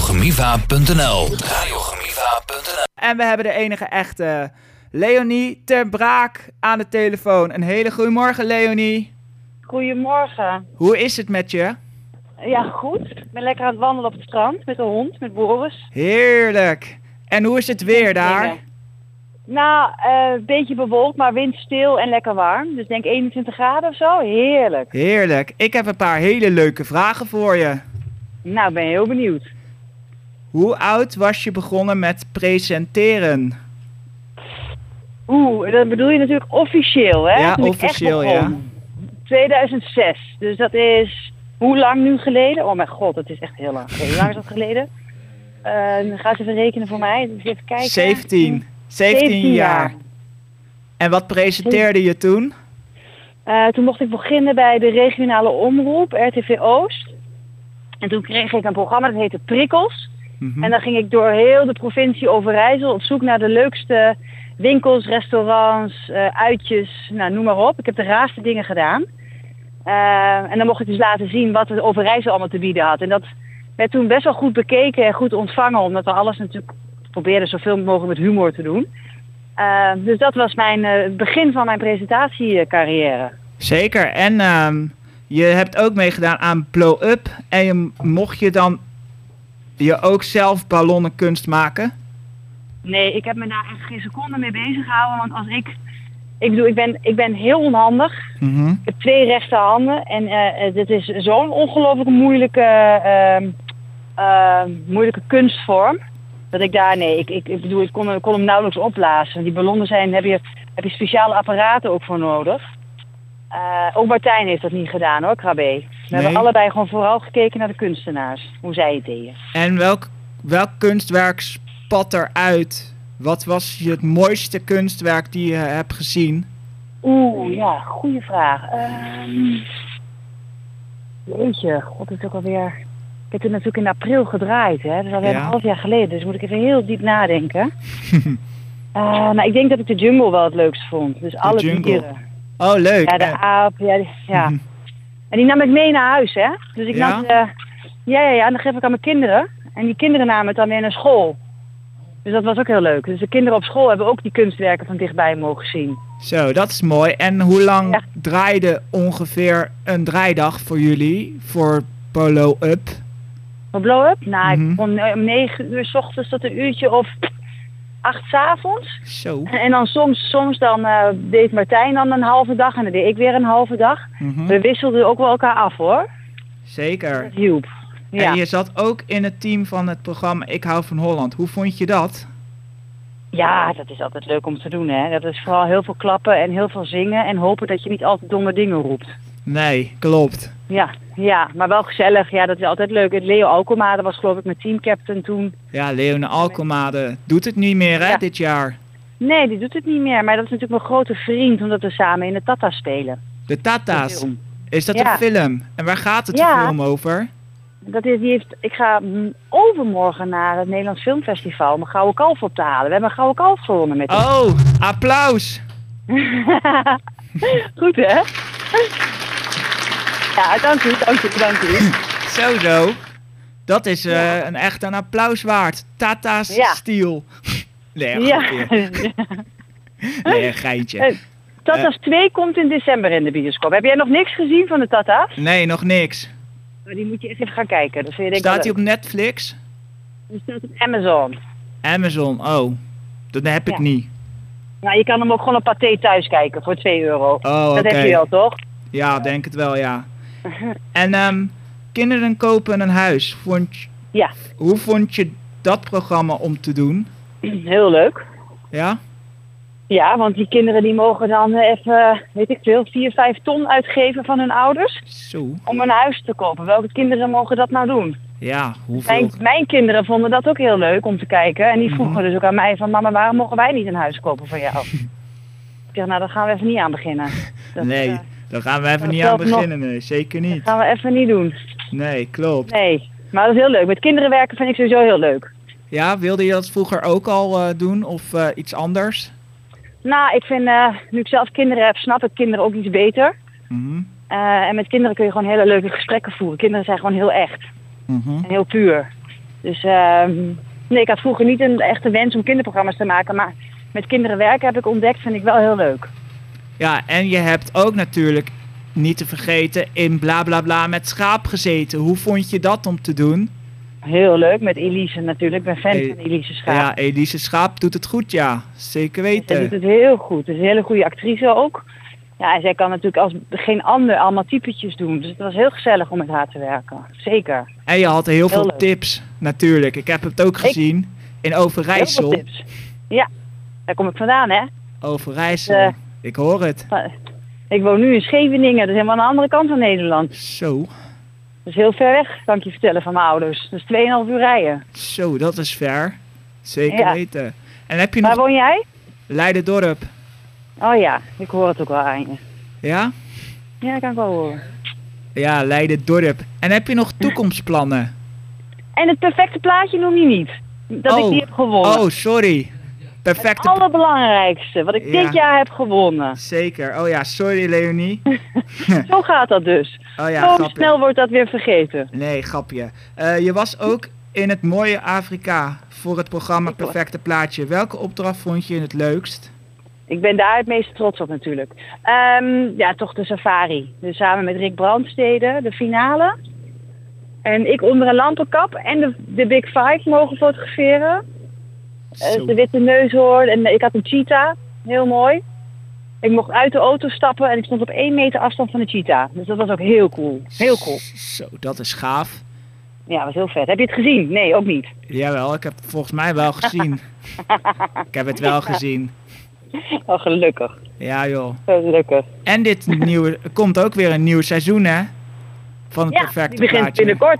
www.radiogemiva.nl Radiogemiva.nl En we hebben de enige echte Leonie ter Braak aan de telefoon. Een hele goede morgen, Leonie. Goedemorgen. Hoe is het met je? Ja, goed. Ik ben lekker aan het wandelen op het strand met de hond, met Boris. Heerlijk. En hoe is het weer daar? Nou, eh, een beetje bewolkt, maar windstil en lekker warm. Dus denk 21 graden of zo. Heerlijk. Heerlijk. Ik heb een paar hele leuke vragen voor je. Nou, ik ben heel benieuwd. Hoe oud was je begonnen met presenteren? Oeh, dat bedoel je natuurlijk officieel, hè? Ja, Toen ik echt officieel, ja. begon. 2006. Dus dat is hoe lang nu geleden? Oh mijn god, dat is echt heel lang geleden. Hoe lang is dat geleden? Eh ga eens even rekenen voor mij. Dus even kijken. 17. 17 jaar. En wat presenteerde je toen? Eh, toen mocht ik beginnen bij de regionale omroep, RTV Oost. En toen kreeg ik een programma dat heette Prikkels. Mhm. En dan ging ik door heel de provincie Overijssel op zoek naar de leukste winkels, restaurants, eh, uitjes, nou, noem maar op. Ik heb de raarste dingen gedaan. Eh, en dan mocht ik dus laten zien wat de Overijssel allemaal te bieden had. En dat werd toen best wel goed bekeken en goed ontvangen, omdat we alles natuurlijk probeerden zoveel mogelijk met humor te doen. Eh, dus dat was mijn, eh, het begin van mijn presentatiecarrière. Zeker. En ehm, je hebt ook meegedaan aan Blow Up. En je mocht je dan je ook zelf ballonnenkunst maken? Nee, ik heb me daar echt geen seconde mee bezig gehouden. Want als ik. Ik bedoel, ik ben, ik ben heel onhandig. Mhm. Ik heb twee rechterhanden. En eh, eh, dit is zo'n ongelooflijk moeilijke, ehm, ehm, moeilijke kunstvorm. Dat ik daar, nee, ik, ik, ik bedoel, ik kon, hem- ik kon hem nauwelijks opblazen. Die ballonnen zijn, heb je, heb je speciale apparaten ook voor nodig. Eh, ook Martijn heeft dat niet gedaan hoor, Krabbe. We hebben allebei gewoon vooral gekeken naar de kunstenaars. Hoe zij het deden. En welk, welk kunstwerk spat eruit? Wat was je het mooiste kunstwerk die je hebt gezien? Oeh, ja, goede vraag. Ehm jeetje, god, het is ook alweer... Ik heb het natuurlijk in april gedraaid, hè. Dat is alweer Ja. een half jaar geleden, dus moet ik even heel diep nadenken. Eh nou, ik denk dat ik de jungle wel het leukst vond. Dus alle jungle. dieren. Oh, leuk. mhm. Ja, de En- aap, ja. die- ja. En die nam ik mee naar huis, hè. Dus ik Ja? nam... De, ja, ja, ja, en dan geef ik aan mijn kinderen. En die kinderen namen het dan weer naar school. Dus dat was ook heel leuk. Dus de kinderen op school hebben ook die kunstwerken van dichtbij mogen zien. Zo, dat is mooi. En hoe lang Ja. draaide ongeveer een draaidag voor jullie? Voor Polo Up? Voor blow-up? Nou, Mhm. ik begon eh, om negen uur s ochtends tot een uurtje of acht s avonds. Zo. En dan soms, soms dan eh, deed Martijn dan een halve dag en dan deed ik weer een halve dag. Mhm. We wisselden ook wel elkaar af hoor. dus- Zeker. Joep. Ja. En je zat ook in het team van het programma Ik hou van Holland. Hoe vond je dat? ja, dat is altijd leuk om te doen hè. Dat is vooral heel veel klappen en heel veel zingen en hopen dat je niet altijd domme dingen roept. Nee, klopt. Ja, ja, maar wel gezellig. Ja, dat is altijd leuk. Het Leo Alkema, dat was geloof ik mijn teamcaptain toen. Ja, Leone Alkemade doet het niet meer hè, Ja. dit jaar. Nee, die doet het niet meer. Maar dat is natuurlijk mijn grote vriend, omdat we samen in de Tata spelen. De Tata's. Film. Is dat Ja. een film? En waar gaat het Ja. de film over? Dat is, die heeft, ik ga mm, overmorgen naar het Nederlands Filmfestival om een gouden kalf op te halen. We hebben een gouden kalf gewonnen met hem. Oh, applaus! Oh. Goed hè? Ja, dank u, dank u, dank u. Zo zo. Dat is eh, een echt een applaus waard. Tata's Ja. Steel. Nee, Ja. ja. nee, een geintje. Eh. Tata's 2 komt in december in de bioscoop. Heb jij nog niks gezien van de Tata's? Nee, nog niks. Die moet je eerst even gaan kijken. Dat vind je denk ik Staat hij wel op Netflix? leuk. Die staat op Amazon. Amazon, oh. Dat heb ik Ja. niet. Nou, je kan hem ook gewoon op Pathé thuis kijken voor 2 euro. Oh, Dat oké. heb je al, toch? Ja, denk het wel, ja. Mhm. En ehm, kinderen kopen een huis. Vond je- Ja. Hoe vond je dat programma om te doen? Heel leuk. Ja? Ja, want die kinderen die mogen dan eh, even, weet ik veel, 4, 5 ton uitgeven van hun ouders. Zo. om een huis te kopen. Welke kinderen mogen dat nou doen? Ja, hoeveel? Mijn, mijn kinderen vonden dat ook heel leuk om te kijken. En die vroegen dus ook aan mij van... mama, waarom mogen wij niet een huis kopen voor jou? ik zeg, nou, daar gaan we even niet aan beginnen. Dat, eh, Nee, daar gaan we even dat niet aan telt nog. beginnen. Nee, zeker niet. gaan we even niet doen. Nee, klopt. Nee, maar dat is heel leuk. Met kinderen werken vind ik sowieso heel leuk. Ja, wilde je dat vroeger ook al eh, doen of eh, iets anders? Nou, ik vind, eh, nu ik zelf kinderen heb, snap ik kinderen ook iets beter. Mhm. Eh, en met kinderen kun je gewoon hele leuke gesprekken voeren. Kinderen zijn gewoon heel echt. En heel puur. Dus ehm, nee, ik had vroeger niet een echte wens om kinderprogramma's te maken. Maar met kinderen werken heb ik ontdekt, vind ik wel heel leuk. Ja, en je hebt ook natuurlijk niet te vergeten in bla bla bla met schaap gezeten. Hoe vond je dat om te doen? Heel leuk, met Elise natuurlijk. Ik ben fan Hey, van Elise Schaap. Ja, Elise Schaap doet het goed, ja. Zeker Zij doet weten. het heel goed. Ze is een hele goede actrice ook. Ja, en zij kan natuurlijk als geen ander allemaal typetjes doen. Dus het was heel gezellig om met haar te werken. Zeker. En je had heel veel leuk. tips, natuurlijk. Ik heb het ook gezien in Heel veel Overijssel. tips. Ja, daar kom ik vandaan, hè. Overijssel. Eh. Ik hoor het. Ik woon nu in Scheveningen. Dat is helemaal aan de andere kant van Nederland. Zo, Dat is heel ver weg, kan ik je vertellen, van mijn ouders. Dat is 2,5 uur rijden. zo, dat is ver. Zeker Ja. weten. En heb je Waar nog woon jij? Leiderdorp? Oh ja, ik hoor het ook wel aan je. Ja? Ja, dat kan ik wel horen. Ja, Leiderdorp. En heb je nog toekomstplannen? En het perfecte plaatje noem je niet. Dat Oh. ik die heb gewonnen. Oh, sorry. het Perfecte allerbelangrijkste, wat ik Ja. dit jaar heb gewonnen. Zeker. Oh ja, sorry Leonie. Zo gaat dat dus. Oh ja, Zo grapje. snel wordt dat weer vergeten. Nee, grapje. Eh, je was ook in het mooie Afrika voor het programma Perfecte Plaatje. Welke opdracht vond je het leukst? Ik ben daar het meest trots op natuurlijk. Ehm, ja, toch de safari. Dus samen met Rick Brandstede, de finale. En ik onder een lampenkap en de, de Big Five mogen fotograferen. Eh, Zo. de witte neushoorn en eh, ik had een cheetah. Heel mooi. Ik mocht uit de auto stappen en ik stond op één meter afstand van de cheetah. Dus dat was ook heel cool. Heel cool. Zo, dat is gaaf. Ja, was heel vet. Heb je het gezien? Nee, ook niet. Jawel, ik heb het volgens mij wel gezien. ik heb het wel gezien. Oh, gelukkig. Ja joh. Gelukkig. En dit nieuwe, er komt ook weer een nieuw seizoen hè? Van het Ja, Perfecte die begint Plaatje. binnenkort.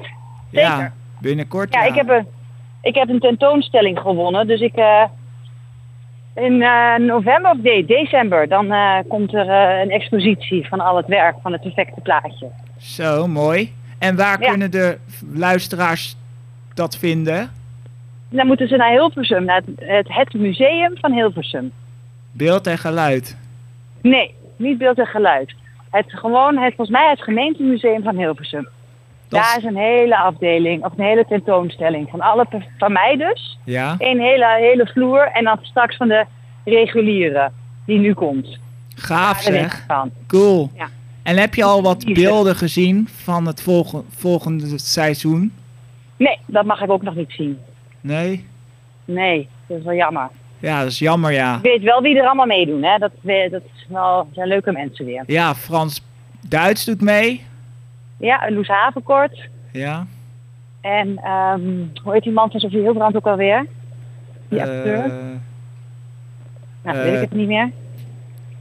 Zeker. Ja, binnenkort. Ja, ik heb, een, ik heb een tentoonstelling gewonnen. Dus ik. eh, in eh, november of nee, december. Dan eh, komt er eh, een expositie van al het werk van het perfecte plaatje. Zo, mooi. En waar Ja. kunnen de luisteraars dat vinden? En dan moeten ze naar Hilversum, naar het, het, het museum van Hilversum. Beeld en geluid. Nee, niet beeld en geluid. Het, gewoon, het, volgens mij het gemeentemuseum van Hilversum. Dat Daar is een hele afdeling, of een hele tentoonstelling. Van, alle, per- van mij dus. Ja, Een hele, hele vloer. En dan straks van de reguliere die nu komt. gaaf Daar ben ik zeg. van. Cool. Ja. En heb je al wat Kiezen. beelden gezien van het volge- volgende seizoen? Nee, dat mag ik ook nog niet zien. Nee? Nee, dat is wel jammer. Ja, dat is jammer ja. Ik weet wel wie er allemaal meedoen. Hè. Dat, we- dat is wel, zijn leuke mensen weer. Ja, Frans Duits doet mee. Ja, Loes Havenkort. Ja. En ehm, hoe heet die man van Sofie Hilbrand ook alweer? Die acteur. Eh, nou, eh, weet ik het niet meer.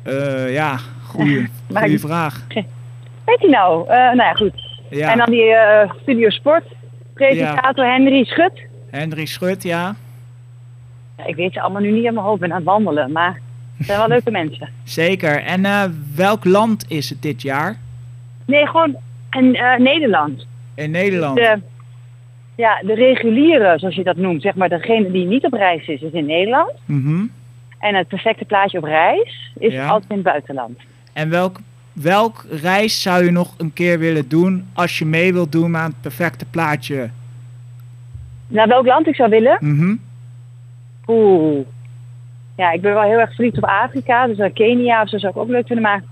eh, ja, goeie, Maar goeie ik- vraag. Weet hij nou? Eh, nou ja, goed. Ja, En dan die eh, Studio Sport. Presentator Henry Schut. Hendrik Schut, ja. Ja, Ik weet ze allemaal nu niet in mijn hoofd. Ik ben aan het wandelen. Maar het zijn wel leuke mensen. Zeker. En eh, welk land is het dit jaar? Nee, gewoon in eh, Nederland. In Nederland. De, ja, de reguliere, zoals je dat noemt, zeg maar, degene die niet op reis is, is in Nederland. Mhm. En het perfecte plaatje op reis is Ja. altijd in het buitenland. En welk, welk reis zou je nog een keer willen doen als je mee wilt doen aan het perfecte plaatje? Naar welk land ik zou willen? Mhm. Oeh. Ja, ik ben wel heel erg verliefd op Afrika, dus naar Kenia of zo zou ik ook leuk vinden. Maar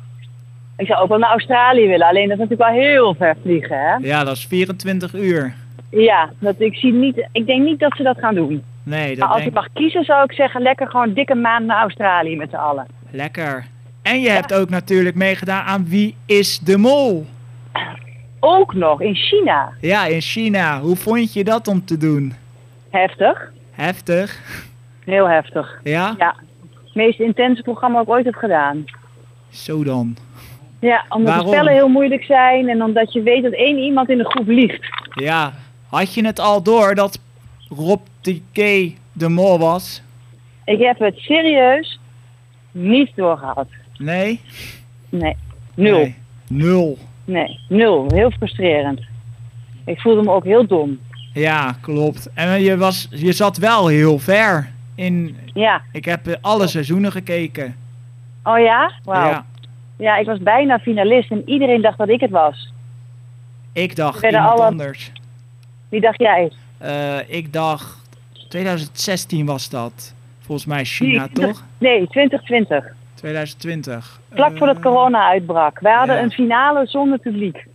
ik zou ook wel naar Australië willen. Alleen dat is natuurlijk wel heel ver vliegen, hè? Ja, dat is 24 uur. Ja, dat, ik, zie niet, ik denk niet dat ze dat gaan doen. Nee, maar dat als denk ik mag kiezen, zou ik zeggen: lekker gewoon dikke maand naar Australië met z'n allen. Lekker. En je hebt ook natuurlijk meegedaan aan Wie is de Mol? Ook nog in China. Ja, in China. Hoe vond je dat om te doen? Heftig. Heftig, Heel heftig. ja? Ja. Het meest intense programma dat ik ooit heb gedaan. Zo dan. Ja, omdat Waarom? de spellen heel moeilijk zijn en omdat je weet dat één iemand in de groep liegt. Ja, had je het al door dat Rob de K de Mol was? Ik heb het serieus niet doorgehad. Nee? Nee, nul. Nee, Nee. Nul. nul. Heel frustrerend. Ik voelde me ook heel dom. Ja, klopt. En eh, je, was, je zat wel heel ver. In, Ja. ik heb eh, alle seizoenen gekeken. Oh ja? Wauw. Ja. Ja, ik was bijna finalist en iedereen dacht dat ik het was. ik dacht Werden iemand alle- anders. Wie dacht jij? Eh, ik dacht, 2016 was dat. Volgens mij China, Nee, toch? Nee, 2020. 2020. Vlak Eh, voordat corona uitbrak. Wij hadden ja. een finale zonder publiek.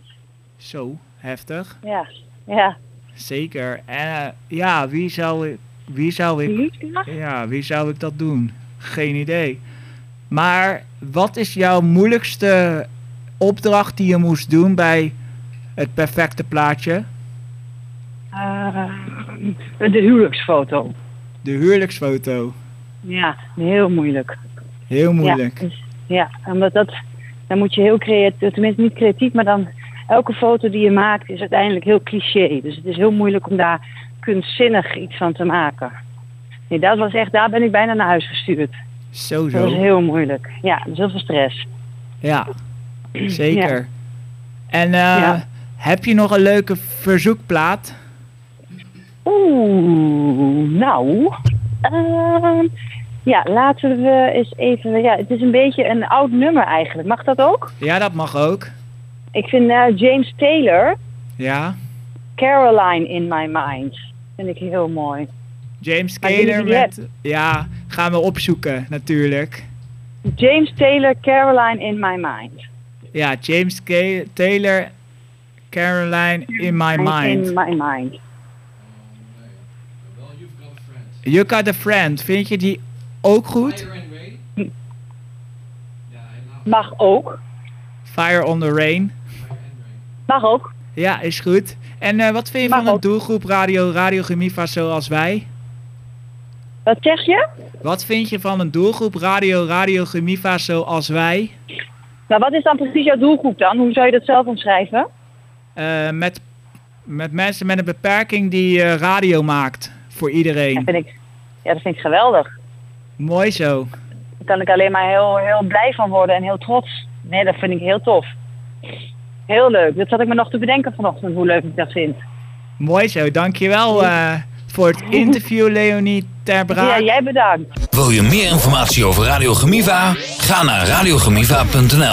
Zo, heftig. Ja. Ja. Zeker. En eh, ja, wie zou, ik- wie zou ik Liedkracht? Ja, wie zou ik dat doen? Geen idee. Maar wat is jouw moeilijkste opdracht die je moest doen bij het perfecte plaatje? Eh, de huwelijksfoto. De huwelijksfoto. Ja, heel moeilijk. Heel moeilijk. Ja, dus- ja, omdat dat, dan moet je heel creatief, tenminste niet creatief, maar dan elke foto die je maakt is uiteindelijk heel cliché. Dus het is heel moeilijk om daar kunstzinnig iets van te maken. Nee, dat was echt, daar ben ik bijna naar huis gestuurd. Zo Dat was zo. heel moeilijk. Ja, dus dat is heel veel stress. Ja, zeker. En eh, Ja. heb je nog een leuke verzoekplaat? Oeh, nou. ehm, ja, laten we eens even. Ja, het is een beetje een oud nummer eigenlijk. Mag dat ook? Ja, dat mag ook. Ik vind eh, James Taylor, Ja. Caroline in My Mind. Vind ik heel mooi. James Maar jullie Taylor die met... Ja, gaan we opzoeken natuurlijk. James Taylor, Caroline in My Mind. Ja, James K- Taylor, Caroline in my mind. In My Mind. Well, you've got friends. You Got a Friend, vind je die ook goed? Iron Ray? Hm. Yeah, I love Mag ook. Fire on the Rain. Iron Ray. Mag ook. Ja, is goed. En eh, wat vind je Mag van een ook. doelgroep radio, radio Gemiva zoals wij? Wat zeg je? Wat vind je van een doelgroep radio, radio Gemiva zoals wij? Nou, wat is dan precies jouw doelgroep dan? Hoe zou je dat zelf omschrijven? Eh, met, met mensen met een beperking die eh, radio maakt voor Dat iedereen. vind ik, ja, dat vind ik geweldig. Mooi zo. Daar kan ik alleen maar heel, heel blij van worden en heel trots. Nee, dat vind ik heel tof. Heel leuk. Dat zat ik me nog te bedenken vanochtend, hoe leuk ik dat vind. Mooi zo. Dankjewel eh voor het interview, Leonie Terbraak. Ja, jij bedankt. Wil je meer informatie over Radio Gemiva? Ga naar radiogemiva.nl